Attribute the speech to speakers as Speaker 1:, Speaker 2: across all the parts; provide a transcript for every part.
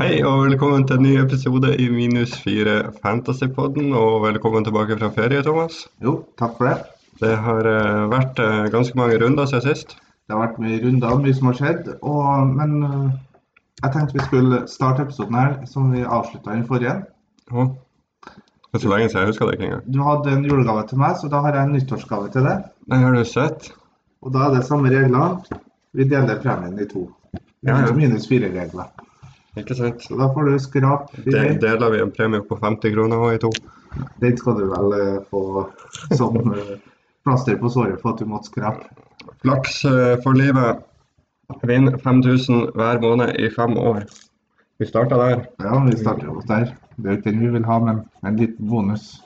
Speaker 1: Hei og velkommen til en ny episode i Minus 4 Fantasypodden. Og velkommen tilbake fra ferie, Thomas.
Speaker 2: Jo, takk for det.
Speaker 1: Det har eh, vært eh, ganske mange runder siden sist.
Speaker 2: Det har vært mye runder, mye som har skjedd. Og, men øh, jeg tenkte vi skulle starte episoden her som vi avslutta i den forrige.
Speaker 1: Å, Det er så lenge siden jeg husker det ikke engang.
Speaker 2: Du hadde en julegave til meg, så da har jeg en nyttårsgave til deg.
Speaker 1: Nei, har du sett?
Speaker 2: Og da er det samme regler. Vi deler premien i to.
Speaker 1: Ja, ja.
Speaker 2: Minus fire regler.
Speaker 1: Ikke sant?
Speaker 2: Så da får du skrape.
Speaker 1: Det
Speaker 2: billig.
Speaker 1: deler vi en premie på 50 kroner og i to.
Speaker 2: Den skal du vel øh, få som øh, plaster på såret for at du måtte skrape.
Speaker 1: Flaks eh, for livet. Vinn 5000 hver måned i fem år. Vi starta der.
Speaker 2: Ja, vi starter jo der. Det er jo ikke den vi vil ha, men en liten bonus.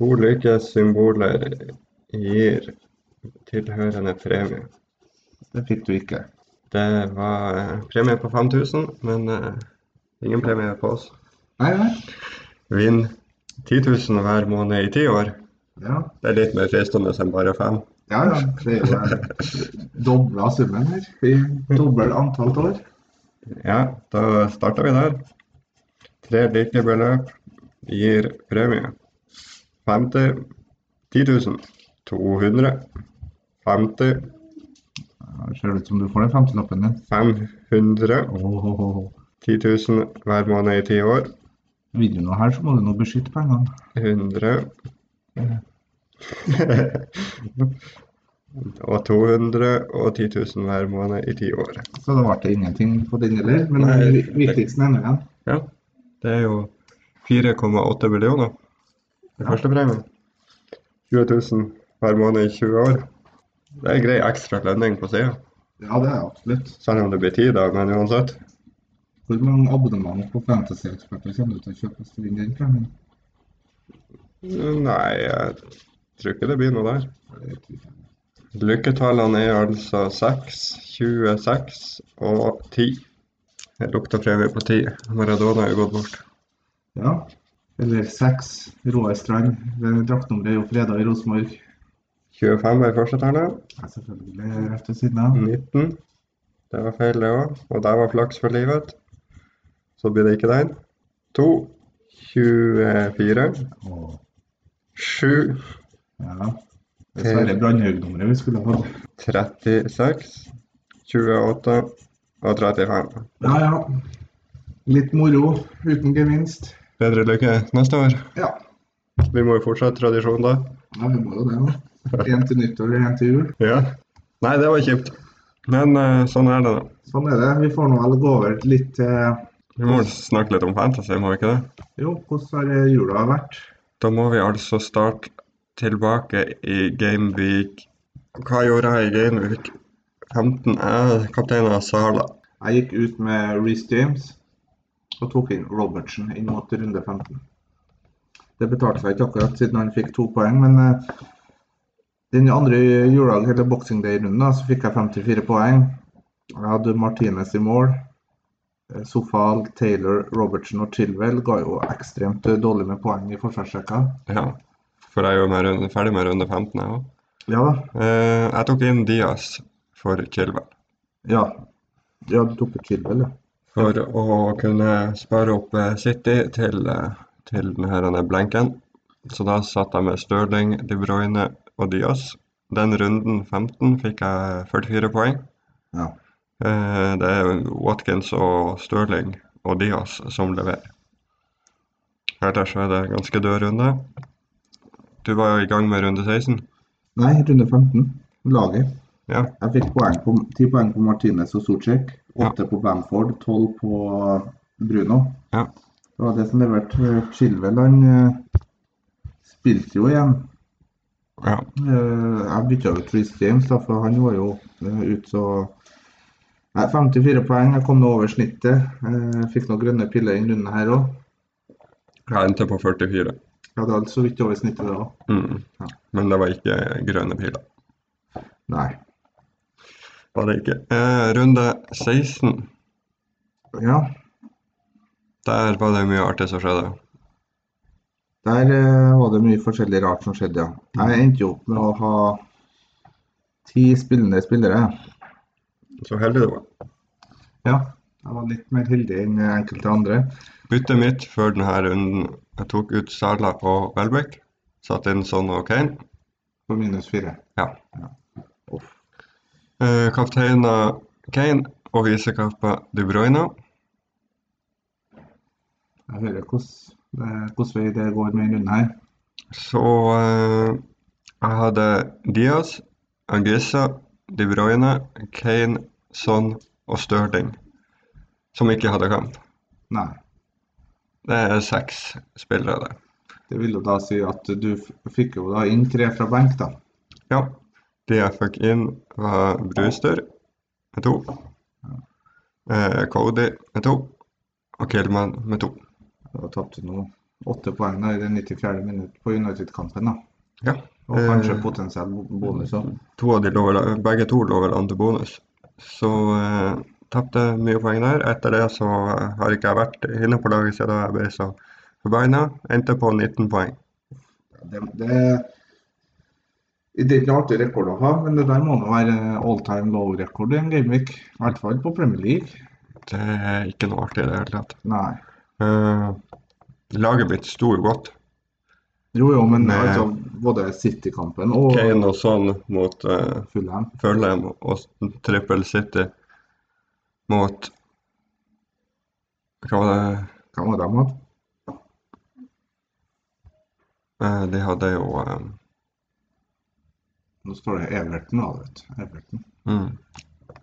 Speaker 1: To like symboler gir tilhørende premie.
Speaker 2: Det fikk du ikke.
Speaker 1: Det var eh, premie på 5000, men eh, ingen premie på oss.
Speaker 2: Nei, nei.
Speaker 1: Vinn 10 000 hver måned i ti år.
Speaker 2: Ja.
Speaker 1: Det er litt mer fristende enn bare fem.
Speaker 2: Ja, ja. Det er jo eh, dobla summen her. I dobbelt antall år.
Speaker 1: Ja, da starter vi der. Tre like beløp gir premie. 50 10 000. 200. 50
Speaker 2: Det ser ut som du får den femtelappen din.
Speaker 1: 500.
Speaker 2: Oh, oh, oh.
Speaker 1: 10 000 hver måned i ti år.
Speaker 2: Vil du noe her, så må du nå beskytte pengene.
Speaker 1: 100 og 200 og 10 000 hver måned i ti år.
Speaker 2: Så da ble det ingenting på den heller. Men
Speaker 1: Nei,
Speaker 2: det viktigste er nå igjen.
Speaker 1: Ja, det er jo 4,8 millioner i første premie. 20 000 hver måned i 20 år. Det er en grei ekstra lønning på sida.
Speaker 2: Ja, det er absolutt.
Speaker 1: Selv om det blir ti, da, men uansett.
Speaker 2: Hvor mange abonnement på Fantasy-eksperter kommer du til å kjøpe hvis du vinner den premien?
Speaker 1: Nei, jeg tror ikke det blir noe der.
Speaker 2: Det vet vi ikke.
Speaker 1: Lykketallene er altså 6, 26 og 10. Det lukter premie på 10. Maradona er jo gått bort.
Speaker 2: Ja. Eller seks. Roar Strand. Det Draktnummeret er jo freda i Rosenborg.
Speaker 1: 25 var i første tallet.
Speaker 2: Ja, selvfølgelig rett ved siden av.
Speaker 1: 19. Det var feil, det òg. Og der var flaks for livet. Så blir det ikke den. 2. 24.
Speaker 2: Åh,
Speaker 1: 7.
Speaker 2: ja. Dessverre Brandhaug-nummeret vi skulle hatt.
Speaker 1: 36. 28. Og 35.
Speaker 2: Ja, ja. Litt moro uten gevinst.
Speaker 1: Bedre lykke neste år.
Speaker 2: Ja,
Speaker 1: Vi må jo fortsette tradisjonen, da.
Speaker 2: ja vi må jo det, da. Én til nyttår og én til jul.
Speaker 1: Ja. Nei, det var kjipt. Men eh, sånn er det, da.
Speaker 2: Sånn er det. Vi får nå vel gå over litt til
Speaker 1: Vi må snakke litt om fantasy, må vi ikke det?
Speaker 2: Jo, hvordan har jula vært?
Speaker 1: Da må vi altså starte tilbake i Gameweek. Hva gjorde jeg i Gameweek 15? Jeg er kaptein av Sala.
Speaker 2: Jeg gikk ut med Reece James og tok inn Robertsen inn mot runde 15. Det betalte seg ikke akkurat siden han fikk to poeng, men eh, den andre juledag, eller Boxing Day-runden, da, så fikk jeg 54 poeng. Jeg hadde Martinez i mål. Eh, Sofal, Taylor, Robertsen og Chilwell ga jo ekstremt eh, dårlig med poeng i forsvarsrekka.
Speaker 1: Ja, for jeg er jo med runde, ferdig med runde 15, jeg òg.
Speaker 2: Ja da.
Speaker 1: Eh, jeg tok inn Diaz for Chilwell.
Speaker 2: Ja. Ja, du tok på Chilwell, ja.
Speaker 1: For å kunne spare opp eh, City til, eh, til denne blenken. Så da satt jeg med Stirling, De Bruyne og Diaz. Den runden 15 fikk jeg 44 poeng.
Speaker 2: ja.
Speaker 1: Eh, Det er Watkins og Stirling og Diaz som leverer. Ellers er det ganske død runde. Du var jo i gang med runde 16.
Speaker 2: Nei, runde 15. Laget.
Speaker 1: Ja.
Speaker 2: Jeg fikk poeng på, 10 poeng på Martinez og Socek, 8 på Bamford, 12 på Bruno.
Speaker 1: Ja.
Speaker 2: Det var det som leverte Chilwell. Han eh, spilte jo igjen.
Speaker 1: ja.
Speaker 2: Eh, jeg bytta ut Reece James, da, for han var jo eh, ut så Nei, 54 poeng. Jeg kom nå over snittet. Eh, fikk noen grønne piller inn runden her òg.
Speaker 1: Jeg endte på 44.
Speaker 2: Jeg hadde altså så vidt over snittet da òg.
Speaker 1: Mm.
Speaker 2: Ja.
Speaker 1: Men det var ikke grønne piler.
Speaker 2: Nei.
Speaker 1: Var det ikke. Eh, runde 16.
Speaker 2: Ja.
Speaker 1: Der var det mye artig som skjedde.
Speaker 2: Der eh, var det mye forskjellig rart som skjedde, ja. Jeg endte jo opp med å ha ti spillende spillere.
Speaker 1: Så heldig du var.
Speaker 2: Ja. Jeg var litt mer heldig enn enkelte andre.
Speaker 1: Byttet mitt før denne runden jeg tok ut Sala og Welbeck. Satte inn Son og Kane.
Speaker 2: På minus fire.
Speaker 1: Ja.
Speaker 2: Uff.
Speaker 1: Eh, Kapteina Kane og visekappa De Bruyne.
Speaker 2: Jeg hører hvilken vei det går med en runde her.
Speaker 1: Så eh, jeg hadde Diaz, Angissa, De Bruyne, Kane, Son og Stirling. Som ikke hadde kamp.
Speaker 2: Nei.
Speaker 1: Det er seks spillere, det.
Speaker 2: Det vil jo da si at du f- fikk jo da inn tre fra benk, da.
Speaker 1: Ja. De jeg fikk inn, var Brewster med to. Eh, Cody med to. Og Killman med to.
Speaker 2: Da tapte du nå åtte poeng da i det 94. minutt på United-kampen, da.
Speaker 1: Ja.
Speaker 2: Og kanskje
Speaker 1: Eh.
Speaker 2: potensiell bo- bonus òg.
Speaker 1: To av de lå vel, begge to lå vel an til bonus. Så eh, tapte mye poeng der. Etter det så eh, har ikke jeg vært inne på laget siden jeg ble så forbanna. Endte på 19 poeng.
Speaker 2: Det, det, det er ikke noe artig rekord å ha, men det der må nå være all time low-rekord i en gameweek. I hvert fall på Premier League.
Speaker 1: Det er ikke noe artig i det hele tatt.
Speaker 2: Nei.
Speaker 1: Eh, laget mitt sto jo godt.
Speaker 2: Jo, jo, men
Speaker 1: Nei.
Speaker 2: altså, både City-kampen og
Speaker 1: Kane og sånn mot eh,
Speaker 2: Fulham
Speaker 1: Fulham og Triple City mot Hva var det
Speaker 2: Hva var det de hadde?
Speaker 1: Eh, De hadde jo eh,
Speaker 2: Nå står det Everton, da, vet du. Everton.
Speaker 1: mm,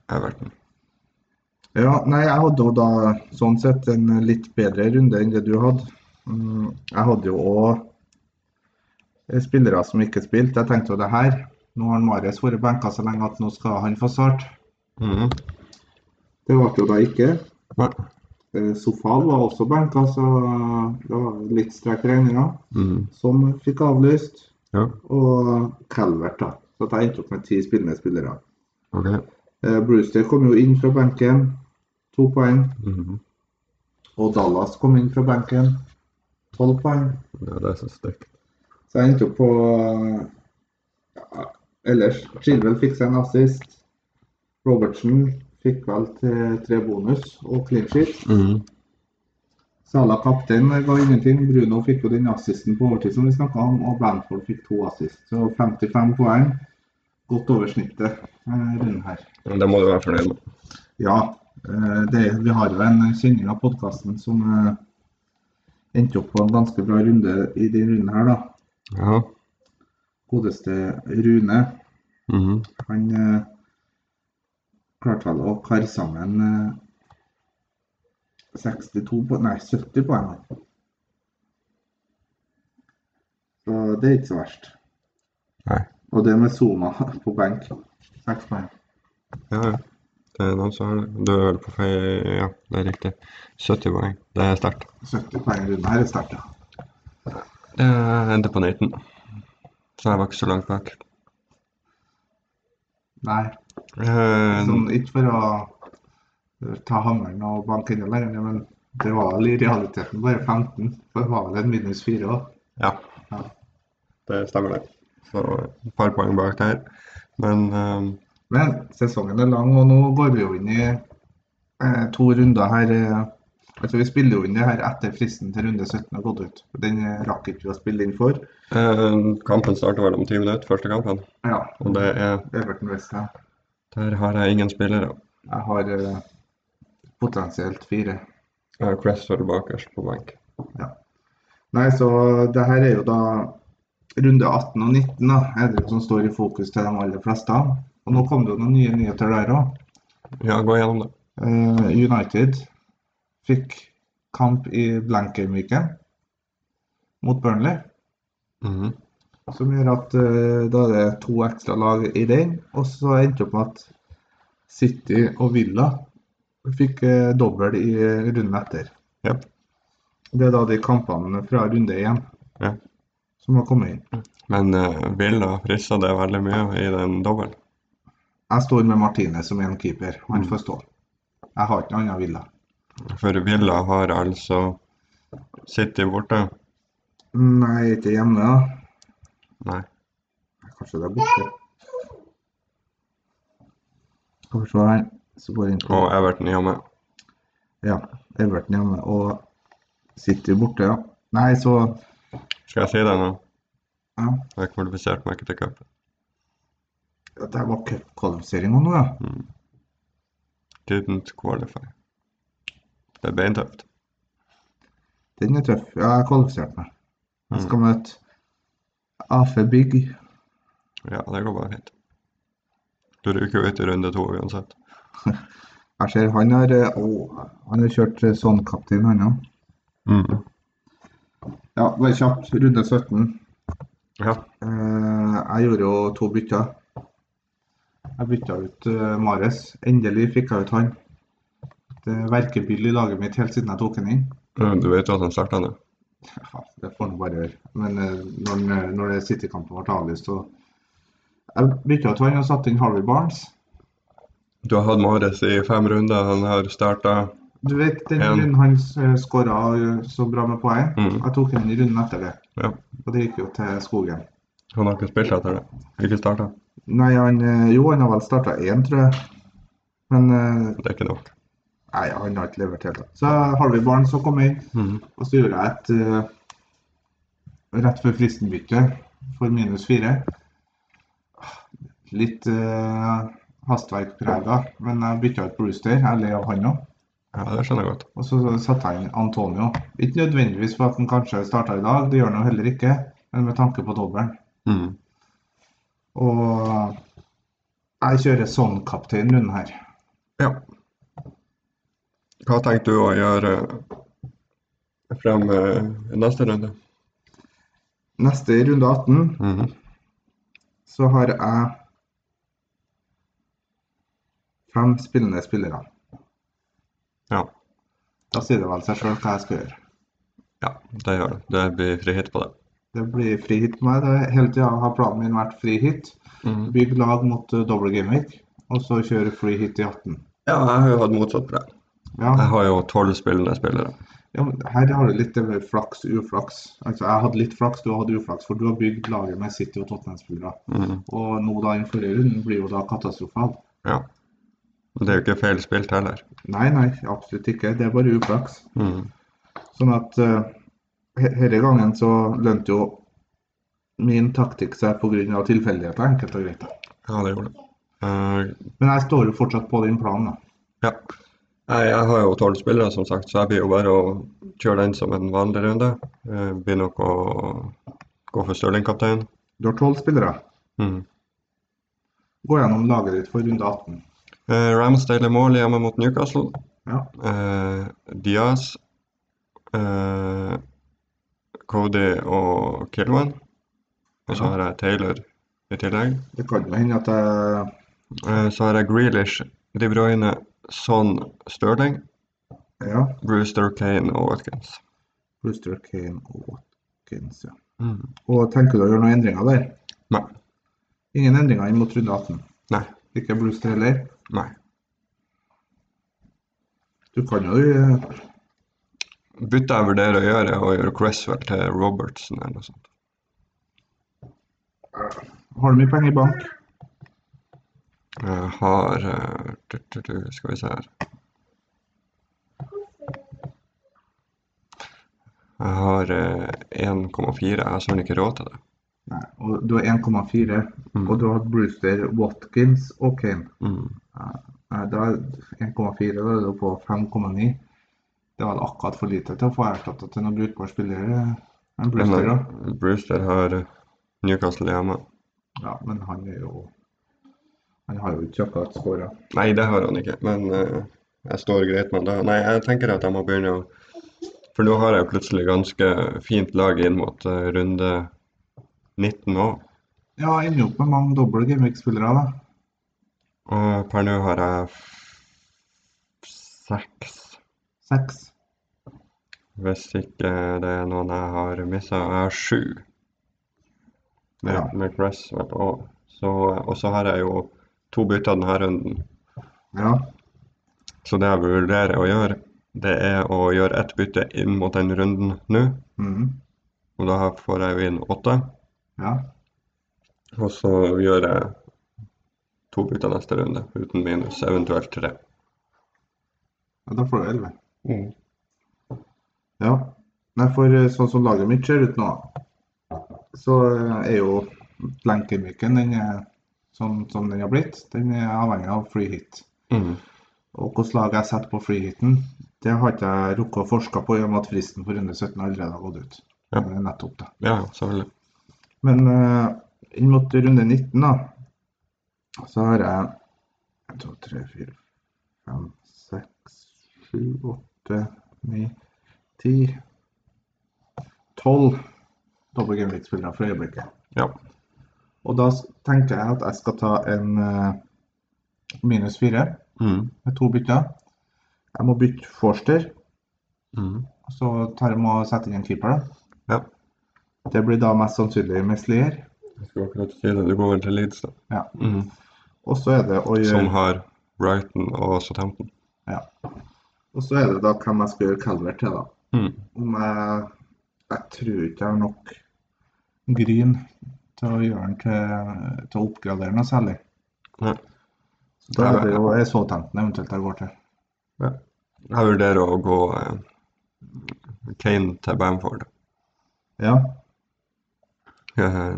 Speaker 1: Everton.
Speaker 2: Ja, nei, jeg hadde jo da sånn sett en litt bedre runde enn det du hadde. Mm, Jeg hadde jo òg spillere som ikke spilte. Jeg tenkte jo det her. Nå har Marius vært benka så lenge at nå skal han få start.
Speaker 1: Mhm.
Speaker 2: Det ble jo da ikke.
Speaker 1: Nei.
Speaker 2: Eh, Sofal var også benka, så eh, det var litt strek regninga.
Speaker 1: Mhm.
Speaker 2: Som fikk avlyst.
Speaker 1: Ja,
Speaker 2: Og Calvert, da. Så at jeg endte opp med ti spillende spillere.
Speaker 1: OK.
Speaker 2: Eh, Brewster kom jo inn fra benken. To poeng.
Speaker 1: Mhm.
Speaker 2: Og Dallas kom inn fra benken. Tolv poeng.
Speaker 1: Ja, det er så stygt.
Speaker 2: Så jeg endte opp på eh, ja, Ellers Chilwell fikk seg en assist. Robertsen fikk vel til tre bonus og clean sheet.
Speaker 1: Mhm.
Speaker 2: Sala kaptein ga ingenting. Bruno fikk jo den assisten på overtid som vi snakket om, og Bamford fikk to assist. Så 55 poeng. Godt over snittet eh, runden her.
Speaker 1: Men Det må du være fornøyd med.
Speaker 2: Ja, eh, det, vi har jo en kjenning av podkasten som eh, endte opp på en ganske bra runde i den runden her, da.
Speaker 1: Ja.
Speaker 2: Godeste Rune.
Speaker 1: Mhm.
Speaker 2: Han eh, klarte vel å karre sammen eh, 62 poeng, nei 70 poeng. da. Så det er ikke så verst.
Speaker 1: Nei.
Speaker 2: Og det med Soma på benk. Seks poeng.
Speaker 1: Ja, ja. Det er noen som har det. Du er vel på feil Ja, det er riktig. 70 poeng. Det er sterkt.
Speaker 2: 70 poeng rundt her er sterkt, ja.
Speaker 1: Det endte på 19. Så jeg var ikke så langt bak.
Speaker 2: Nei,
Speaker 1: Eh,
Speaker 2: sånn, ikke for å eh, ta hammeren og banke enda mer, men det var vel i realiteten bare 15. For det var vel en minus 4 òg.
Speaker 1: Ja,
Speaker 2: Ja.
Speaker 1: det stemmer det. Så eh, et par poeng bak der. Men eh,
Speaker 2: Men sesongen er lang, og nå går vi jo inn i eh, to runder her. Eh, altså Vi spiller jo inn det her etter fristen til runde 17 har gått ut. Den eh, rakk ikke vi å spille inn for.
Speaker 1: eh, kampen starter vel om ti minutter, første kampen.
Speaker 2: Ja,
Speaker 1: Og det er
Speaker 2: Everton Westham.
Speaker 1: Der har jeg ingen spillere.
Speaker 2: Jeg har eh, potensielt fire.
Speaker 1: Jeg har Cresswell bakerst på benk.
Speaker 2: Nei, så det her er jo da runde 18 og 19, da. Er det som står i fokus til de aller fleste. Og nå kom det jo noen nye nyheter der òg.
Speaker 1: Ja, gå gjennom det.
Speaker 2: Eh, United fikk kamp i Blankenviken mot Burnley.
Speaker 1: Mhm.
Speaker 2: Som gjør at eh, da er det to ekstra lag i den. Og så endte det opp med at City og Villa fikk uh, dobbel i eh, runden etter.
Speaker 1: Jep.
Speaker 2: Det er da de kampene fra runde én
Speaker 1: Ja.
Speaker 2: som har kommet inn.
Speaker 1: Men eh, Villa frista det veldig mye i den dobbelen.
Speaker 2: Jeg står med Martine som en keeper.
Speaker 1: Mm.
Speaker 2: Han får stå. Jeg har ikke noe annet Villa.
Speaker 1: For Villa har altså City borte.
Speaker 2: Nei, ikke hjemme, da.
Speaker 1: Nei.
Speaker 2: Kanskje det er borte. Skal vi se her. Så går jeg inn på
Speaker 1: Og Everton hjemme.
Speaker 2: Ja, Everton hjemme og City borte, ja. Nei, så
Speaker 1: Skal jeg si deg nå?
Speaker 2: ja.
Speaker 1: Jeg kvalifiserte meg ikke til cupen.
Speaker 2: Det var cupkvalifiseringa nå, ja.
Speaker 1: Mm. Didn't qualify. Det er beintøft.
Speaker 2: Den er tøff. Ja, jeg kvalifiserte meg. Jeg skal møte AF Bygg.
Speaker 1: Ja, det går bare fint. Du ryker jo ut i runde to uansett.
Speaker 2: Jeg ser han har eh, Å, han har kjørt eh, sånn kaptein, han òg.
Speaker 1: Mm.
Speaker 2: Ja, bare kjapt. Runde 17.
Speaker 1: Ja.
Speaker 2: Eh, jeg gjorde jo to bytter. Jeg bytta ut eh, Mares. Endelig fikk jeg ut han. Det verker byll i laget mitt helt siden jeg tok han inn.
Speaker 1: Du vet jo at han starta nå?
Speaker 2: Ja, det får han bare gjøre. Men eh, når, den- når det City-kampen ble avlyst, så Jeg bytta ut han og satte inn Harvey Barnes.
Speaker 1: Du har hatt Mares i fem runder. Han har starta
Speaker 2: Du vet den
Speaker 1: En.
Speaker 2: runden han skåra så bra med poeng.
Speaker 1: Mm.
Speaker 2: Jeg tok han i runden etter det,
Speaker 1: Ja.
Speaker 2: og det gikk jo til skogen.
Speaker 1: Han har ikke spilt etter det. Ikke starta.
Speaker 2: Nei, han eh, Jo, han har vel starta én, tror jeg. Men eh,
Speaker 1: Det er ikke nok.
Speaker 2: Nei, han har ikke levert helt. da. Så Harvey Barnes har kommet inn,
Speaker 1: Mm.
Speaker 2: og så gjorde jeg et eh, rett før fristenbytte for minus fire. Litt uh, hastverkprega, men jeg bytta ut Brewster. Jeg er lei av han òg.
Speaker 1: Ja, det skjønner jeg godt.
Speaker 2: Og så satte jeg inn Antonio. Ikke nødvendigvis for at han kanskje starta i dag, det gjør han jo heller ikke, men med tanke på dobbelen.
Speaker 1: Mm.
Speaker 2: Og jeg kjører sånn kaptein runden her.
Speaker 1: Ja. Hva tenkte du å gjøre frem eh, neste runde?
Speaker 2: Neste i runde 18
Speaker 1: Mhm.
Speaker 2: så har jeg fem spillende spillere.
Speaker 1: Ja.
Speaker 2: Da sier det vel seg sjøl hva jeg skal gjøre.
Speaker 1: Ja, det gjør det. Det blir frihet på det.
Speaker 2: Det blir fri hit på meg. Det er hele tida har planen min vært fri hit.
Speaker 1: Mhm.
Speaker 2: Bygg lag mot eh, double gameweek, og så kjøre free hit i 18.
Speaker 1: Ja, jeg har jo hatt motsatt på det.
Speaker 2: Ja.
Speaker 1: Jeg har jo tolv spillende spillere.
Speaker 2: Ja, men her har du litt det med flaks og uflaks. Altså, jeg hadde litt flaks, du hadde uflaks, for du har bygd laget med City og Tottenham-spillere.
Speaker 1: Mhm.
Speaker 2: Og nå da i forrige runden blir jo da katastrofal.
Speaker 1: Ja. Men det er jo ikke feil spilt heller.
Speaker 2: Nei, nei, absolutt ikke. Det er bare uflaks.
Speaker 1: Mhm.
Speaker 2: Sånn at eh, he- hele gangen så lønte jo min taktikk seg pga. tilfeldigheter, enkelt og greit.
Speaker 1: Ja, det gjorde det. Eh,
Speaker 2: Men jeg står jo fortsatt på din plan, da.
Speaker 1: ja. Nei, jeg har jo tolv spillere, som sagt, så jeg blir jo bare å kjøre den som en vanlig runde. Eh, blir nok å gå for Stirling-kaptein.
Speaker 2: Du har tolv spillere.
Speaker 1: Mhm.
Speaker 2: Gå gjennom laget ditt for runde 18.
Speaker 1: Eh, Ramsdale i mål hjemme mot Newcastle.
Speaker 2: Ja.
Speaker 1: Eh, Diaz, eh, Cody og Kilwan. Og så
Speaker 2: Ja.
Speaker 1: har jeg Taylor i tillegg.
Speaker 2: Det kan jo hende at jeg
Speaker 1: Eh, så har jeg Grealish, De Bruyne, Son, Sterling,
Speaker 2: Ja.
Speaker 1: Brewster, Kane og Watkins.
Speaker 2: Brewster, Kane og Watkins, ja.
Speaker 1: Mm.
Speaker 2: Og tenker du å gjøre noen endringer der?
Speaker 1: Nei.
Speaker 2: Ingen endringer inn mot runde 18?
Speaker 1: Nei.
Speaker 2: Ikke Brewster heller?
Speaker 1: Nei.
Speaker 2: Du kan jo eh,
Speaker 1: Byttet jeg vurderer å gjøre, er å gjøre Cresswell til Robertson eller noe sånt.
Speaker 2: Har du mye penger i bank?
Speaker 1: Jeg har eh, tu, tu, tu, Skal vi se her. Jeg har eh, 1,4. Jeg har søren ikke råd til det.
Speaker 2: Nei. Og du har 1,4.
Speaker 1: Mm.
Speaker 2: Og du har hatt Brewster, Watkins og Kane.
Speaker 1: Mm.
Speaker 2: Nei, da er 1,4 da er du på 5,9. Det var akkurat for lite til å få erstatta til noen brukbar spiller. eh, enn Brewster, da.
Speaker 1: Men Brewster har eh, Newcastle hjemme.
Speaker 2: Ja, men han er jo Han har jo ikke akkurat skåra.
Speaker 1: Nei, det har han ikke, men eh, jeg står greit med det. Nei, jeg tenker at jeg må begynne å For nå har jeg jo plutselig ganske fint lag inn mot eh, runde 19 òg.
Speaker 2: Ja, ender opp med mange doble gameweek-spillere, da.
Speaker 1: Og Eh, per nå har jeg f- seks.
Speaker 2: Seks.
Speaker 1: Hvis ikke det er noen jeg har missa. Jeg har sju. Med,
Speaker 2: Ja.
Speaker 1: med Cresswell og så, og så har jeg jo to bytter denne runden.
Speaker 2: Ja.
Speaker 1: Så det jeg vurderer å gjøre, det er å gjøre ett bytte inn mot den runden nå.
Speaker 2: Mhm.
Speaker 1: Og da får jeg jo inn åtte.
Speaker 2: Ja.
Speaker 1: Og så gjør jeg to bytter neste runde, uten minus, eventuelt tre.
Speaker 2: ja. Da får du 11.
Speaker 1: Mm.
Speaker 2: Ja. Nei, for eh, sånn som laget mitt ser ut nå, så eh, er jo Blankemyken den er, sånn som den har blitt, den er avhengig av free hit.
Speaker 1: Mm.
Speaker 2: Og hvilket lag jeg setter på free hiten, det har ikke jeg rukket å forske på i og med at fristen for runde 17 allerede har gått ut.
Speaker 1: Ja.
Speaker 2: Det er nettopp det.
Speaker 1: Ja, ja, selvfølgelig.
Speaker 2: Men eh, inn mot runde 19, da, så har jeg 1, 2, 3, 4, 5, 6, 7, 8, 9, 10 12 dobbel gameweek-spillere for øyeblikket.
Speaker 1: Ja.
Speaker 2: Og da s- tenker jeg at jeg skal ta en eh, minus 4
Speaker 1: Mm.
Speaker 2: med to bytter. Jeg må bytte Forster,
Speaker 1: Mm.
Speaker 2: og så tar jeg må sette inn en keeper. da.
Speaker 1: Ja.
Speaker 2: Det blir da mest sannsynlig Meslier.
Speaker 1: Jeg skulle akkurat si det. Du går vel til Leeds, da.
Speaker 2: Ja.
Speaker 1: Mm.
Speaker 2: Og så er det å gjøre
Speaker 1: Som har Brighton og Southampton.
Speaker 2: Og så er det da hvem jeg skal gjøre Calvert til, da.
Speaker 1: Mm.
Speaker 2: Om jeg Jeg tror ikke jeg har nok gryn til å gjøre den til, til å oppgradere noe særlig.
Speaker 1: Nei.
Speaker 2: Så da er det jo er Southampton eventuelt jeg går til.
Speaker 1: Jeg vurderer å gå eh, Kane til Bamford.
Speaker 2: Ja.
Speaker 1: Eh,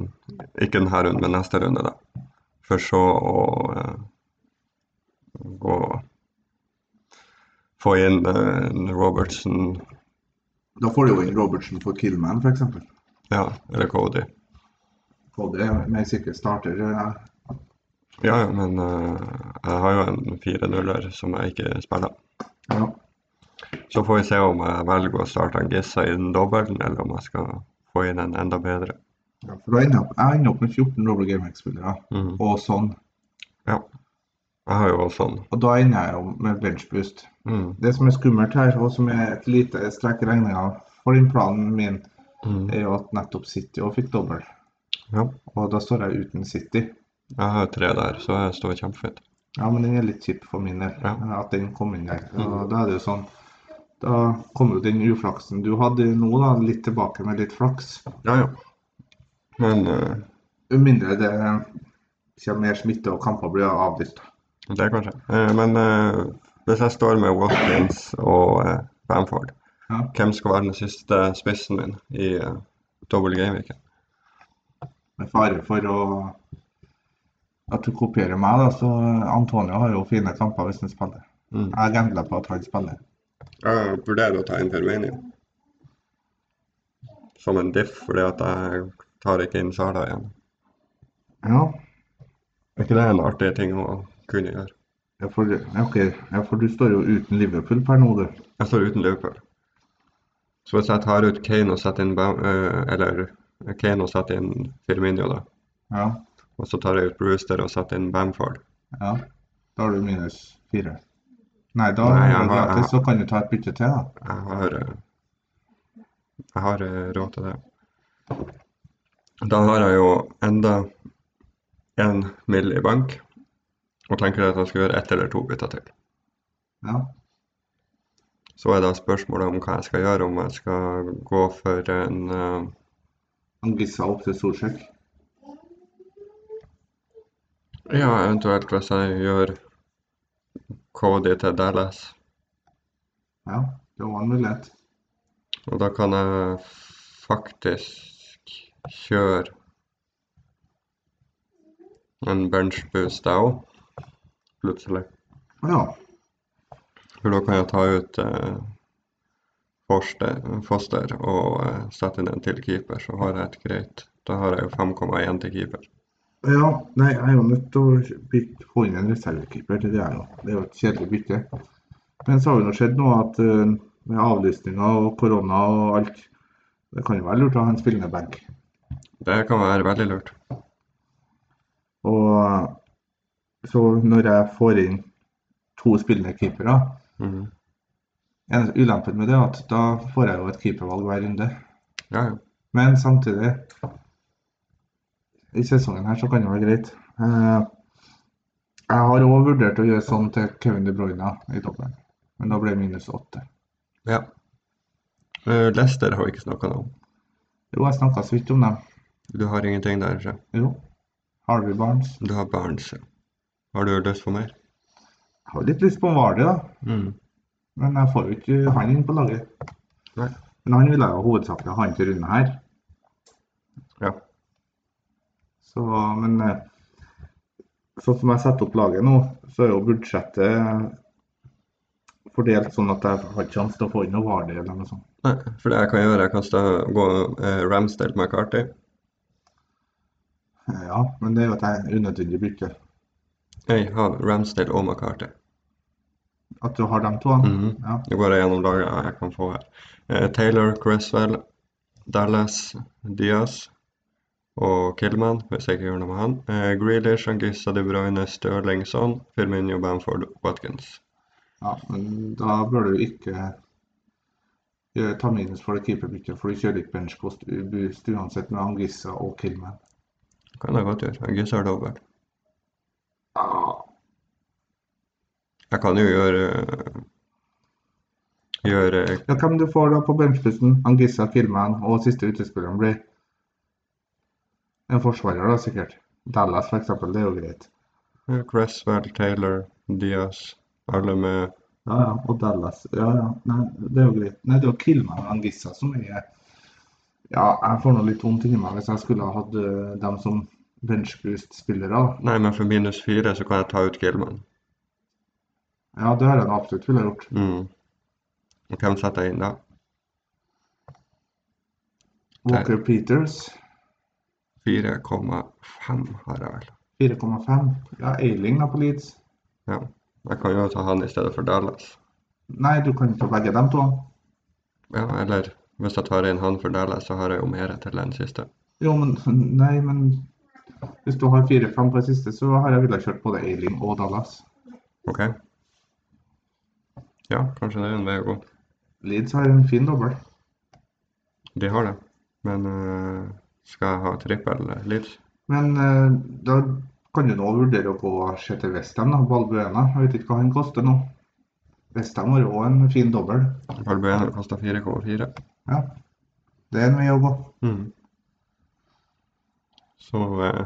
Speaker 1: ikke denne runden, men neste runde, da. For så å eh, gå Få inn eh, Robertson,
Speaker 2: Da får du jo inn Robertsen for Killman, f.eks.
Speaker 1: ja, eller Cody.
Speaker 2: Både med sikker starter ja.
Speaker 1: Ja, ja, men eh, jeg har jo en 4-0-er som jeg ikke spiller.
Speaker 2: ja.
Speaker 1: Så får vi se om jeg velger å starte en Gissa i den dobbelten, eller om jeg skal få inn en enda bedre.
Speaker 2: Ja, For da ender jeg opp, jeg ender opp med 14 Robert Gamex-spillere,
Speaker 1: Mm.
Speaker 2: og sånn.
Speaker 1: Jeg har jo sånn.
Speaker 2: Og da ender jeg jo med benchboost.
Speaker 1: Mm.
Speaker 2: Det som er skummelt her, og som er et lite strekk i regninga for den planen min,
Speaker 1: Mm.
Speaker 2: er jo at nettopp City også fikk dobbel.
Speaker 1: Ja.
Speaker 2: Og da står jeg uten City.
Speaker 1: Jeg har tre der, så jeg står kjempefint.
Speaker 2: Ja, men den er litt kjip for min del,
Speaker 1: Ja.
Speaker 2: at den kom inn der. Og da er det jo sånn Da kommer jo den uflaksen du hadde nå, da, litt tilbake med litt flaks.
Speaker 1: Ja, ja. Men eh,
Speaker 2: Med mindre det kommer mer smitte og kamper blir avlyst.
Speaker 1: det kanskje. Eh, men eh, hvis jeg står med Watkins og eh, Bamford,
Speaker 2: Ja.
Speaker 1: hvem skal være den siste spissen min i uh, double game-weeken?
Speaker 2: Med fare for å at du kopierer meg, da, så Antonio har jo fine kamper hvis han spiller.
Speaker 1: Mm.
Speaker 2: Jeg gambler på at han spiller.
Speaker 1: Jeg vurderer å ta inn Firmino som en diff, fordi at jeg tar ikke inn Sala igjen.
Speaker 2: Ja,
Speaker 1: Er ikke det en artig ting å kunne gjøre?
Speaker 2: ja, for, ja, ok. ja, for du står jo uten Liverpool per nå, du.
Speaker 1: Jeg står uten Liverpool. Så hvis jeg tar ut Kane og setter inn Bam, eh, eller Kane og setter inn Firmino, da,
Speaker 2: Ja.
Speaker 1: og så tar jeg ut Brewster og setter inn Bamford
Speaker 2: Ja, da har du minus fire. Nei, da
Speaker 1: Nei,
Speaker 2: er
Speaker 1: jeg
Speaker 2: det
Speaker 1: har-
Speaker 2: gratis, så kan du ta et bytte til, da.
Speaker 1: Jeg har, eh, jeg har eh, råd til det. Da har jeg jo enda én mill. i bank, og tenker at jeg skal gjøre ett eller to bytter til.
Speaker 2: Ja.
Speaker 1: Så er da spørsmålet om hva jeg skal gjøre, om jeg skal gå for en eh,
Speaker 2: Han gissa opp til Solsjekk.
Speaker 1: Ja, eventuelt hvis jeg gjør Cody til Dallas.
Speaker 2: Ja, det var en mulighet.
Speaker 1: Og da kan jeg faktisk kjøre en benchboost jeg òg, plutselig.
Speaker 2: Å ja.
Speaker 1: For da kan jeg ta ut eh, Forster, Foster og eh, sette inn en til keeper, så har jeg et greit. Da har jeg jo 5,1 til keeper.
Speaker 2: Ja, nei, jeg er jo nødt til å bytte få inn en reservekeeper til det her òg. Det er jo et kjedelig bytte. Men så har det nå skjedd noe at eh, med avlysninger og korona og alt Det kan jo være lurt å ha en spillende benk.
Speaker 1: Det kan være veldig lurt.
Speaker 2: Og så når jeg får inn to spillende keepere
Speaker 1: Mhm.
Speaker 2: Eneste ulempen med det er at da får jeg jo et keepervalg hver runde.
Speaker 1: Ja, ja.
Speaker 2: Men samtidig, i sesongen her så kan det være greit. Eh, Jeg har òg vurdert å gjøre sånn til Kevin De Bruyne i dobbelen, men da ble det minus åtte.
Speaker 1: ja. Eh, Leicester har vi ikke snakka om.
Speaker 2: Jo, jeg snakka så vidt om dem.
Speaker 1: Du har ingenting der, ikke?
Speaker 2: Jo. Harvey Barnes.
Speaker 1: Du har Barnes. ja. Har du lyst på mer?
Speaker 2: Jeg har litt lyst på Vardy, da.
Speaker 1: Mm.
Speaker 2: Men jeg får jo ikke han inn på laget.
Speaker 1: Nei.
Speaker 2: Men han ville jeg jo hovedsakelig ha inn til runden her.
Speaker 1: Ja.
Speaker 2: Så, men eh, sånn som jeg setter opp laget nå, så er jo budsjettet fordelt sånn at jeg har ikke sjanse til å få inn noe Vardø eller noe sånt.
Speaker 1: Nei, for det jeg kan gjøre, jeg kan stå- gå eh, Ramsdale McCarthy.
Speaker 2: Ja, men det er jo et eh, unødvendig bytte.
Speaker 1: Jeg har Ramsdale og McCarthy.
Speaker 2: At du har de to. da.
Speaker 1: Mhm.
Speaker 2: Ja.
Speaker 1: Nå går jeg gjennom laget jeg kan få her. Eh, Taylor, Cresswell, Dallas, Diaz og Killman, hvis jeg ikke gjør noe med han. Eh, Grealish, Angissa, De Bruyne, Stirling, Son, Firmino, Bamford, Watkins.
Speaker 2: ja, men da bør du ikke gjøre- ta minus for det keeperbyttet, for du kjører ikke benchpost boost uansett med Angissa og Kilman.
Speaker 1: Kan jeg godt gjøre. Angissa har dobbelt.
Speaker 2: Ja,
Speaker 1: Jeg kan jo gjøre eh, gjøre
Speaker 2: Ja, hvem du får da på benchpusten? Angissa, Kilman og siste utespilleren blir en forsvarer, da sikkert. Dallas, for eksempel. Det er jo greit.
Speaker 1: eh, Cresswell, Taylor, Diaz, alle med
Speaker 2: Ja, ja. Og Dallas. Ja, ja. Nei, det er jo greit. Nei, det er jo Kilman og Angissa som er Ja, jeg får nå litt vondt inni meg hvis jeg skulle ha hatt øh, dem som benchboost-spillere. da.
Speaker 1: Nei, men for minus fire så kan jeg ta ut Killman.
Speaker 2: Ja, det er det jeg absolutt ville gjort.
Speaker 1: Mm. Og hvem setter jeg inn da?
Speaker 2: Walker Peters,
Speaker 1: 4,5 har jeg vel.
Speaker 2: 4,5. Ja, Eiling da på Leeds.
Speaker 1: Ja. Jeg kan jo ta han i stedet for Dallas.
Speaker 2: Nei, du kan ikke ta begge dem to.
Speaker 1: Ja, eller hvis jeg tar inn han for Dallas, så har jeg jo mer til den siste.
Speaker 2: Jo, men Nei, men hvis du har fire-fem på det siste, så har jeg villet kjørt både Eiling og Dallas.
Speaker 1: Ok? Ja, kanskje det er en vei å gå.
Speaker 2: Leeds har en fin dobbel.
Speaker 1: De har det. Men øh, skal jeg ha trippel Leeds?
Speaker 2: Men eh, da kan du nå vurdere å gå og se til Westham, da. Valbuena. Jeg vet ikke hva han koster nå. Westham har òg en fin dobbel.
Speaker 1: Valbuena koster 4,4.
Speaker 2: Ja. Det er en vei å gå.
Speaker 1: Mm. Så øh,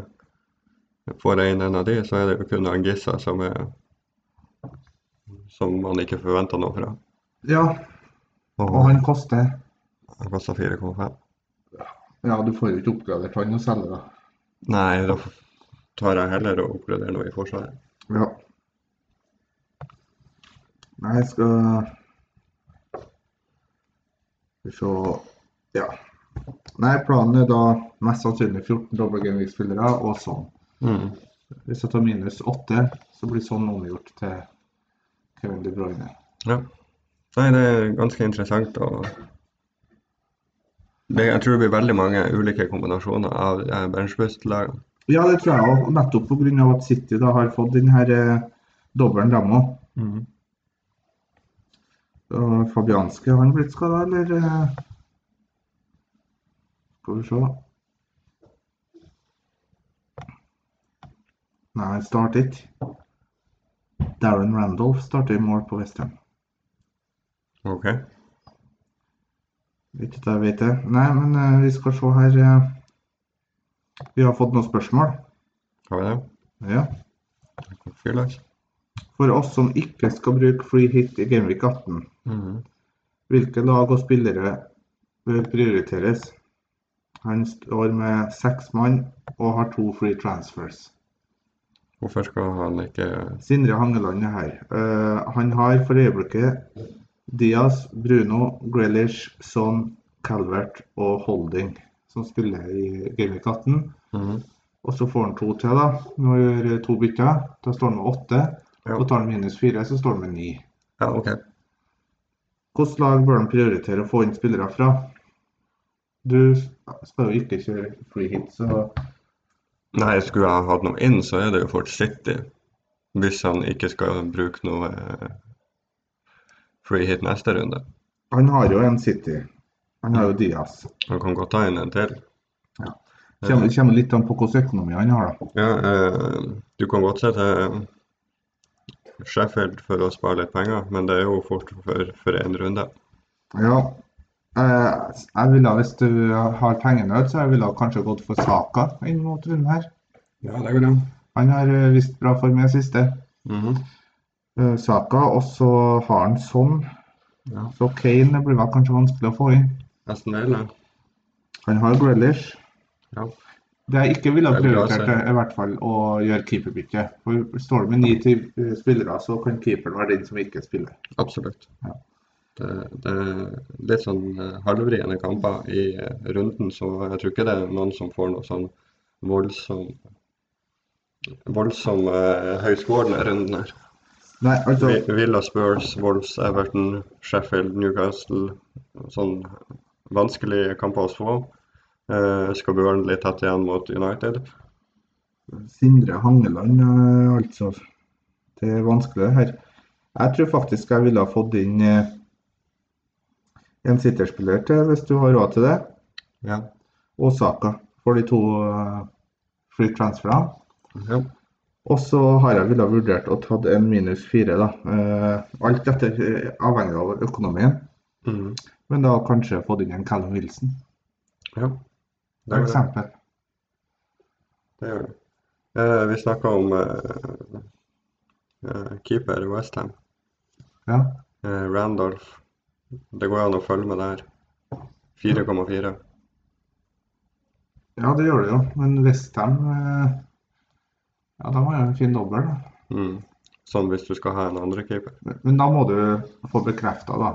Speaker 1: får jeg inn en av de, så er det jo kun Angissa som er Som man ikke forventer noe fra.
Speaker 2: Ja, og han koster
Speaker 1: Han koster 4,5.
Speaker 2: Ja, du får jo ikke oppgradert han å selge, da.
Speaker 1: Nei, da f- tar jeg heller og oppgraderer noe i Forsvaret.
Speaker 2: Ja. Nei, jeg skal Skal vi se Ja. Nei, planen er da mest sannsynlig 14 dobbeltgameweek-spillere og sånn.
Speaker 1: Mm.
Speaker 2: Hvis jeg tar minus 8, så blir sånn omgjort til Kevin De Bruyne.
Speaker 1: Ja. Nei, det er ganske interessant å det, Jeg tror det blir veldig mange ulike kombinasjoner av eh, benchboost-lagene.
Speaker 2: Ja, det tror jeg òg. Nettopp pga. at City da har fått den her eh, dobbelen, dem òg.
Speaker 1: Mm.
Speaker 2: Og Fabianski, har han blitt skada, eller? eh? Skal vi se. Nei, han starter ikke. Darren Randolph starter i mål på Westham.
Speaker 1: Ok.
Speaker 2: Ikke at jeg vet det. Nei, men eh, vi skal se her. eh. Vi har fått noen spørsmål.
Speaker 1: Har vi det?
Speaker 2: Ja.
Speaker 1: Fyrløs?
Speaker 2: For oss som ikke skal bruke free hit i Gameweek 18,
Speaker 1: Mhm.
Speaker 2: Hvilke lag og spillere bør prioriteres? Han står med seks mann og har to free transfers.
Speaker 1: Hvorfor skal han ikke
Speaker 2: Sindre Hangeland er her. Eh, han har for øyeblikket Diaz, Bruno, Grealish, Son, Calvert og Holding, som spiller i Gameweek 18.
Speaker 1: Mhm.
Speaker 2: Og så får han to til, da. Nå gjør to bytter. Da står han med åtte.
Speaker 1: Ja.
Speaker 2: Og tar han minus fire, så står han med ni.
Speaker 1: Ja, ok.
Speaker 2: Hvilket lag bør han prioritere å få inn spillere fra? Du skal jo ikke kjøre free hit, så
Speaker 1: Nei, skulle jeg hatt noe inn, så er det jo fort City. Hvis han ikke skal bruke noe eh, free hit neste runde.
Speaker 2: han har jo en City. Han har jo Diaz.
Speaker 1: Han kan godt ta inn en til. Eh,
Speaker 2: Ja. Kommer, kommer litt an på hvilken økonomi han har, da.
Speaker 1: Ja, eh, du kan godt sette eh, Sheffield for å spare litt penger, men det er jo fort for, for en runde.
Speaker 2: Ja. Eh, Jeg ville, hvis du har pengenød, så jeg ville kanskje gått for Saka inn mot runden her.
Speaker 1: Ja, det vil jeg.
Speaker 2: Han har eh,
Speaker 1: Mhm.
Speaker 2: vist bra form i det siste. Eh, Saka, og så har han sånn
Speaker 1: Ja.
Speaker 2: Så Kane blir vel kanskje vanskelig å få i.
Speaker 1: Aston Villa.
Speaker 2: Han har Grealish.
Speaker 1: Ja.
Speaker 2: Det jeg ikke ville ha
Speaker 1: Det er bra,
Speaker 2: prioritert,
Speaker 1: sier
Speaker 2: er i hvert fall å gjøre keeperbytte. For står du med ni ti eh, spillere, så kan keeperen være den som ikke spiller.
Speaker 1: Absolutt.
Speaker 2: Ja.
Speaker 1: Det, det er litt sånn eh, halvvriene kamper i eh, runden, så jeg tror ikke det er noen som får noe sånn voldsom voldsom eh, høyskårende runden her.
Speaker 2: Nei, altså
Speaker 1: Vi- Villa Spurs, Wolves, Everton, Sheffield, Newcastle. Sånn vanskelige kamper å få. Eh, skal Burnley tett igjen mot United?
Speaker 2: Sindre Hangeland, eh, altså. Det er vanskelig det her. Jeg tror faktisk jeg ville ha fått inn eh, en sitterspiller til, hvis du har råd til det.
Speaker 1: Ja.
Speaker 2: Og Saka, for de to eh, free transferene.
Speaker 1: ja.
Speaker 2: Og så har jeg ville ha vurdert å tatt en minus fire, da. Eh, alt etter eh, avhengig av økonomien.
Speaker 1: Mm.
Speaker 2: Men da kanskje fått inn en Callum Wilson,
Speaker 1: ja.
Speaker 2: for
Speaker 1: er det.
Speaker 2: eksempel.
Speaker 1: Det gjør det. Eh, vi snakka om eh, eh, keeper i Westham,
Speaker 2: Ja.
Speaker 1: eh, Randolph. Det går an å følge med der. 4,4.
Speaker 2: ja, det gjør det jo. Men Westham eh, Ja, da var det en fin dobbel, da.
Speaker 1: Mm. Sånn hvis du skal ha en andre keeper.
Speaker 2: Men da må du få bekrefta da,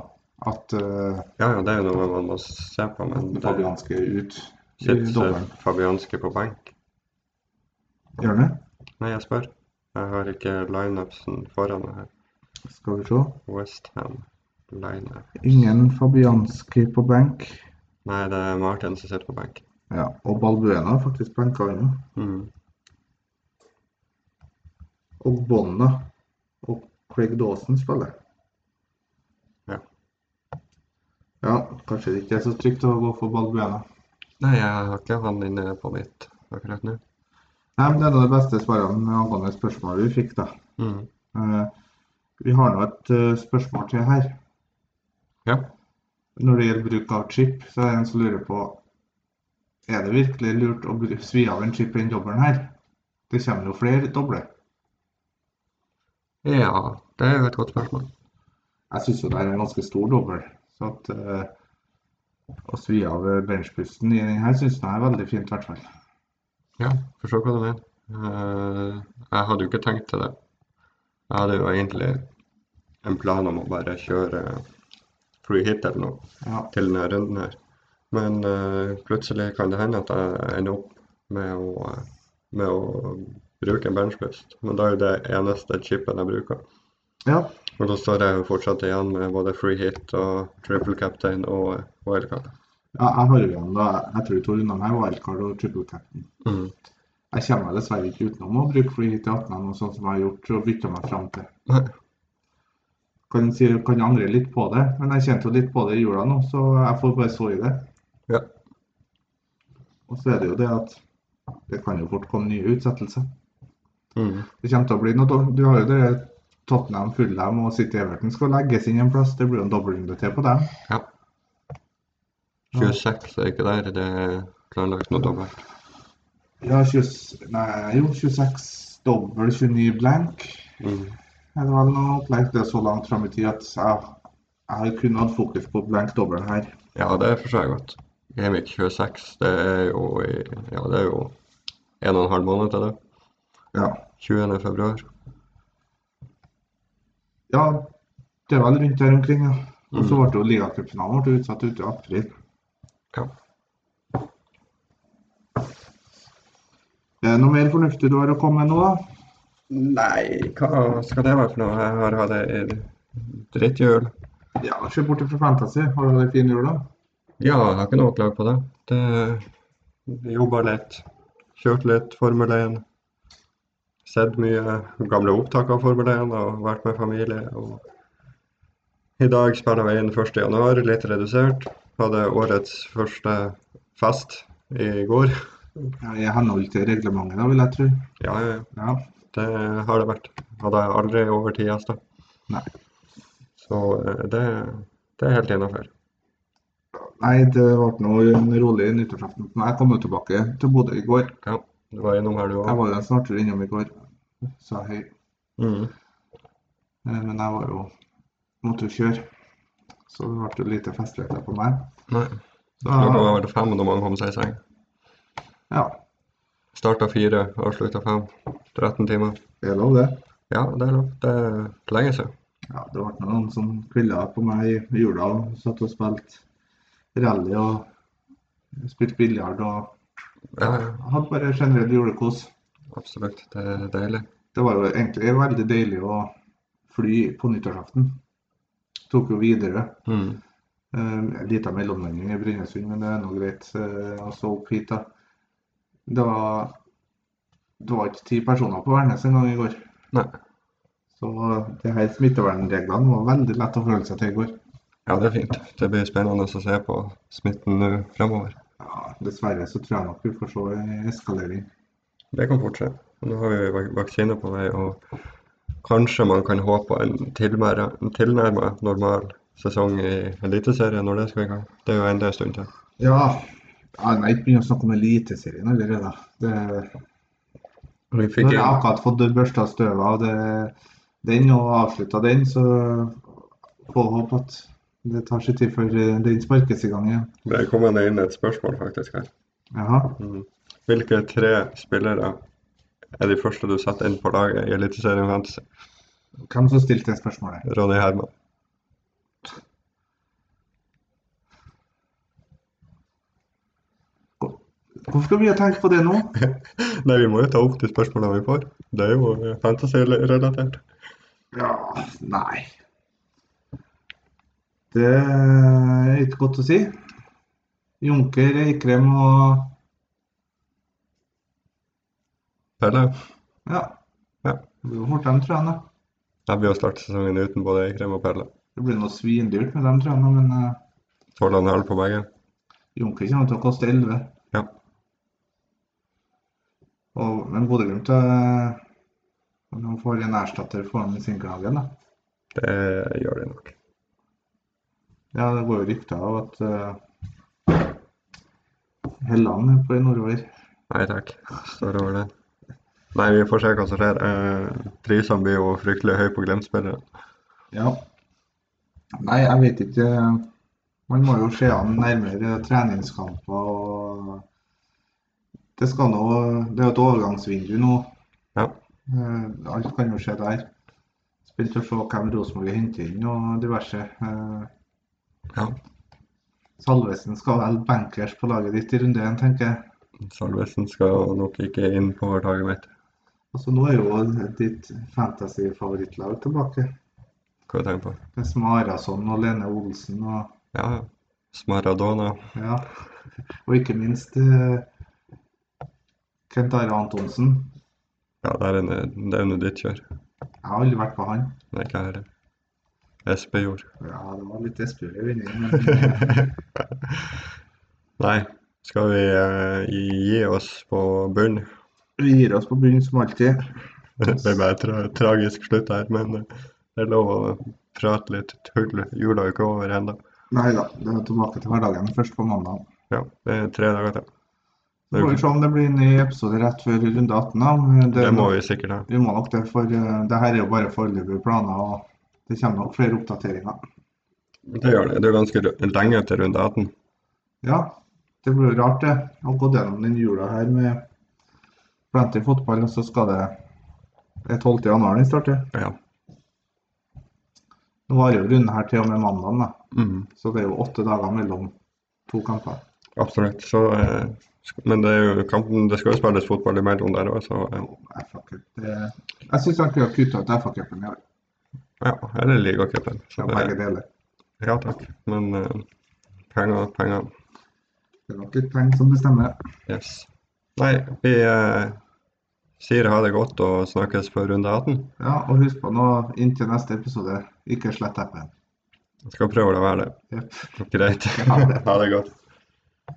Speaker 2: at eh,
Speaker 1: Ja, ja, det er jo noe man må se på, men det
Speaker 2: Fabianski er ut i
Speaker 1: sitter
Speaker 2: dobbelen.
Speaker 1: Fabianski på benk.
Speaker 2: Gjør han det?
Speaker 1: Nei, jeg spør. Jeg har ikke lineupsen foran meg her.
Speaker 2: Skal vi se.
Speaker 1: Westham lineup.
Speaker 2: Ingen Fabianski på benk.
Speaker 1: Nei, det er Martin som sitter på benk.
Speaker 2: Ja, og Balbuena er faktisk benka unna.
Speaker 1: Mm.
Speaker 2: Og Bonna og Craig Dawson spiller.
Speaker 1: Ja.
Speaker 2: Ja, kanskje det ikke er så trygt å gå for Balbuena.
Speaker 1: Nei, jeg har ikke han inne på mitt akkurat nå.
Speaker 2: Nei, men Det er nå det beste svaret angående spørsmålet vi fikk, da.
Speaker 1: Mm.
Speaker 2: Eh, vi har nå et eh, spørsmål til her.
Speaker 1: Ja.
Speaker 2: Når det gjelder bruk av chip, så er det en som lurer på Er det virkelig lurt å bru- svi av en chip i den dobbelen her? Det kommer jo flere doble.
Speaker 1: Ja, det er jo et godt spørsmål.
Speaker 2: Jeg syns jo det er en ganske stor dobbel. Så at eh, å svi av eh, benchbusten i den her syns jeg er veldig fint, i hvert fall.
Speaker 1: Ja, forstår hva du mener. Eh, jeg hadde jo ikke tenkt til det. Jeg hadde jo egentlig en plan om å bare kjøre free hit eller noe
Speaker 2: Ja.
Speaker 1: til denne runden her. Men eh, plutselig kan det hende at jeg ender opp med å, eh, med å bruke en benchbust. Men det er jo det eneste chipen jeg bruker.
Speaker 2: ja.
Speaker 1: Og da står jeg jo fortsatt igjen med både free hit og triple captain og eh, wildcard.
Speaker 2: Ja, jeg har jo igjen da, jeg tror to runder med wildcard og triple captain.
Speaker 1: Mm.
Speaker 2: Jeg kommer meg dessverre ikke utenom å bruke free hit i 18 og sånn som jeg har gjort, og bytte meg fram til.
Speaker 1: Nei.
Speaker 2: Kan, si, kan angre litt på det, men jeg kjente jo litt på det i jula nå, så jeg får bare så i det.
Speaker 1: Ja.
Speaker 2: Og så er det jo det at det kan jo fort komme nye utsettelser.
Speaker 1: Mm.
Speaker 2: Det kommer til å bli noe do- Du har jo det Tottenham, Fulham og City Everton skal legges inn en plass. Det blir jo en dobbeltrunde til på dem.
Speaker 1: Ja.
Speaker 2: Ja.
Speaker 1: 26 er ikke der, det er planlagt noe dobbelt.
Speaker 2: Ja, 20, nei, jo, 26 dobbel, 29 blank.
Speaker 1: Mm.
Speaker 2: Ja, Det var noe opplegg det er så langt fram i tid at jeg, jeg kunne hatt fokus på blank dobbel her.
Speaker 1: Ja, det forstår jeg godt. Gamevik 26, det er jo i Ja, det er jo en og en halv måned til det.
Speaker 2: Ja.
Speaker 1: 20. februar.
Speaker 2: ja, det er vel rundt der omkring, ja. Og så
Speaker 1: Mm.
Speaker 2: ble det jo ligacupfinalen ble utsatt ut i april.
Speaker 1: Ja.
Speaker 2: Er det noe mer fornuftig du har å komme med nå, da?
Speaker 1: Nei, hva skal det være for noe? Jeg har hatt ei dritthjul.
Speaker 2: Ja, se bort fra Fantasy. Har du hatt en fin jul, da?
Speaker 1: Ja, jeg har ikke noe å klage på det. Det jobba litt. Kjørt litt Formel 1. Sett mye gamle opptak av Formel 1 og vært med familie. Og i dag spiller vi inn 1. januar, litt redusert. Hadde årets første fest i går.
Speaker 2: Ja, I henhold til reglementet, da, vil jeg tro.
Speaker 1: Ja, ja, ja,
Speaker 2: Ja.
Speaker 1: det har det vært. Hadde jeg aldri over ti gjester.
Speaker 2: Nei.
Speaker 1: Så eh, det, det er helt innafor.
Speaker 2: Nei, det ble nå en rolig nyttårsaften. Men Jeg kom jo tilbake til Bodø i går.
Speaker 1: Ja, du var innom her, du
Speaker 2: Jeg
Speaker 1: òg.
Speaker 2: var jo en snartur innom i går, sa hei.
Speaker 1: Mm.
Speaker 2: Eh, Men jeg var jo Måtte jo kjøre. så det ble jo lite festligheter på meg.
Speaker 1: Nei.
Speaker 2: Så,
Speaker 1: Klokka var vel fem da mange kom seg i seng.
Speaker 2: ja,
Speaker 1: Starta fire, avslutta fem. 13 timer.
Speaker 2: det er lov, det.
Speaker 1: Ja, det er lov. Det er lenge siden.
Speaker 2: Ja, det ble noen som kvilla på meg i jula og satt og spilte rally og spilte biljard og
Speaker 1: Ja, ja,
Speaker 2: hadde bare generell julekos.
Speaker 1: absolutt. Det er deilig.
Speaker 2: Det var jo egentlig veldig deilig å fly på nyttårsaften. Tok jo videre.
Speaker 1: Mm.
Speaker 2: Um, En liten mellomlanding i Brønnøysund, men det er nå greit. eh, Og så opp hit, da. Det var, det var ikke ti personer på Værnes en gang i går.
Speaker 1: Nei.
Speaker 2: Så det her smittevernreglene var veldig lett å forholde seg til i går.
Speaker 1: Ja, det er fint. Det blir spennende å se på smitten nå fremover.
Speaker 2: Ja, dessverre så tror jeg nok vi får se en eskalering.
Speaker 1: Det kan fortsette. Og Nå har vi vak- vaksine på vei, og kanskje man kan håpe på en tilnærmet, en tilnærmet normal sesong i Eliteserien når det skal i gang. Det er jo enda en stund til.
Speaker 2: Ja, ja nei, ikke begynn å snakke om Eliteserien allerede. Det,
Speaker 1: Vi
Speaker 2: nå
Speaker 1: fikk
Speaker 2: har jeg
Speaker 1: inn,
Speaker 2: akkurat fått børsta støvet av det, den og avslutta den, så får håpe at det tar sin tid før eh, den sparkes i gang igjen.
Speaker 1: det kom inn et spørsmål faktisk her.
Speaker 2: Jaha.
Speaker 1: Mm. Hvilke tre spillere er de første du setter inn på laget i Eliteserien Fantasy?
Speaker 2: Hvem som stilte det spørsmålet?
Speaker 1: Ronny Herman.
Speaker 2: Hvorfor skal vi tenke på det nå?
Speaker 1: Nei, vi må jo ta opp de spørsmålene vi får. Det er jo eh, fantasy-relatert.
Speaker 2: Ja, nei. Det er ikke godt å si. Junker, Eikrem og
Speaker 1: Pelle,
Speaker 2: Ja.
Speaker 1: Ja.
Speaker 2: Det blir jo fort dem, tror jeg. da.
Speaker 1: jeg blir å starte sesongen uten både Eikrem og Pelle.
Speaker 2: Det blir noe svindyrt med dem, tror jeg, nå, men eh,
Speaker 1: Tolv og en halv på begge.
Speaker 2: Junker kommer til å koste 11.
Speaker 1: Ja.
Speaker 2: Og, men Bodø-Glimt eh, Når han får en erstatter, får han Sinkelhagen, da.
Speaker 1: Det gjør de nok.
Speaker 2: Ja, det går jo rykter av at eh, Helland er på vei nordover.
Speaker 1: Nei takk. Står over det. Nei, vi får se hva som skjer. Eh, Prisene blir jo fryktelig høye på Glimt-spillere.
Speaker 2: Ja. Nei, jeg vet ikke. Man må jo se an nærmere treningskamper og Det skal nå Det er jo et overgangsvindu nå.
Speaker 1: Ja.
Speaker 2: Eh, Alt kan jo skje der. Spent å se hvem Rosenborg henter inn og diverse. Eh,
Speaker 1: ja.
Speaker 2: Salvesen skal vel bankers på laget ditt i runde én, tenker jeg.
Speaker 1: Salvesen skal nok ikke inn på laget mitt.
Speaker 2: Altså, nå er jo ditt fantasy-favorittlag tilbake.
Speaker 1: Hva tenker jeg på?
Speaker 2: Det er Smarason og Lene Olsen og
Speaker 1: Ja, ja. Smaradona.
Speaker 2: Ja, og ikke minst eh, Kent Are Antonsen.
Speaker 1: Ja, det er en, det er under ditt kjør.
Speaker 2: Jeg har aldri vært på han.
Speaker 1: Det er ikke her. Espejord.
Speaker 2: Ja, det var litt Espejord i vinningen, men eh,
Speaker 1: Nei, skal vi eh, gi oss på bunn?
Speaker 2: vi gir oss på bunnen som alltid.
Speaker 1: Det ble bare tra tragisk slutt her, men eh, det er lov å prate litt tull. Jula er ikke over ennå.
Speaker 2: Nei da, det er tilbake til hverdagen først på mandag.
Speaker 1: Ja, det er tre dager til.
Speaker 2: Så får vi se om det blir en ny episode rett før runde 18. da. Det,
Speaker 1: Det må vi sikkert ha.
Speaker 2: vi må nok det, for eh, det her er jo bare foreløpige planer. og Det kommer nok flere oppdateringer.
Speaker 1: Det gjør det. Det er ganske ru- lenge til runde 18.
Speaker 2: Ja, det blir jo rart det, å gå gjennom den jula her med plenty fotball, og så skal det Det er 12. januar den starter.
Speaker 1: Ja.
Speaker 2: Nå varer jo runden her til og med mandagen, da.
Speaker 1: Mm,
Speaker 2: så det er jo åtte dager mellom to kamper.
Speaker 1: absolutt. Så, eh, sk- men det er jo kampen, det skal jo spilles fotball imellom der òg, så eh,
Speaker 2: FA-cup. det- Jeg syns han kunne kutta ut FA-cupen i år.
Speaker 1: ja. Eller ligacupen.
Speaker 2: Det
Speaker 1: Så
Speaker 2: er
Speaker 1: det-
Speaker 2: Begge deler.
Speaker 1: Ja takk. Men eh, penger, penger.
Speaker 2: Det er nok litt penger som bestemmer.
Speaker 1: Yes. Nei, vi eh, sier ha det godt og snakkes på runde 18.
Speaker 2: Ja, og husk på nå, inntil neste episode, ikke slett appen.
Speaker 1: Jeg skal prøve å la være det.
Speaker 2: Jep.
Speaker 1: Greit.
Speaker 2: Ha det.
Speaker 1: Ha det godt.